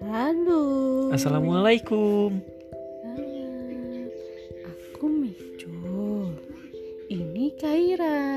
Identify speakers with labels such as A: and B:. A: Halo.
B: Assalamualaikum.
A: Halo. Aku Mico. Ini Kaira.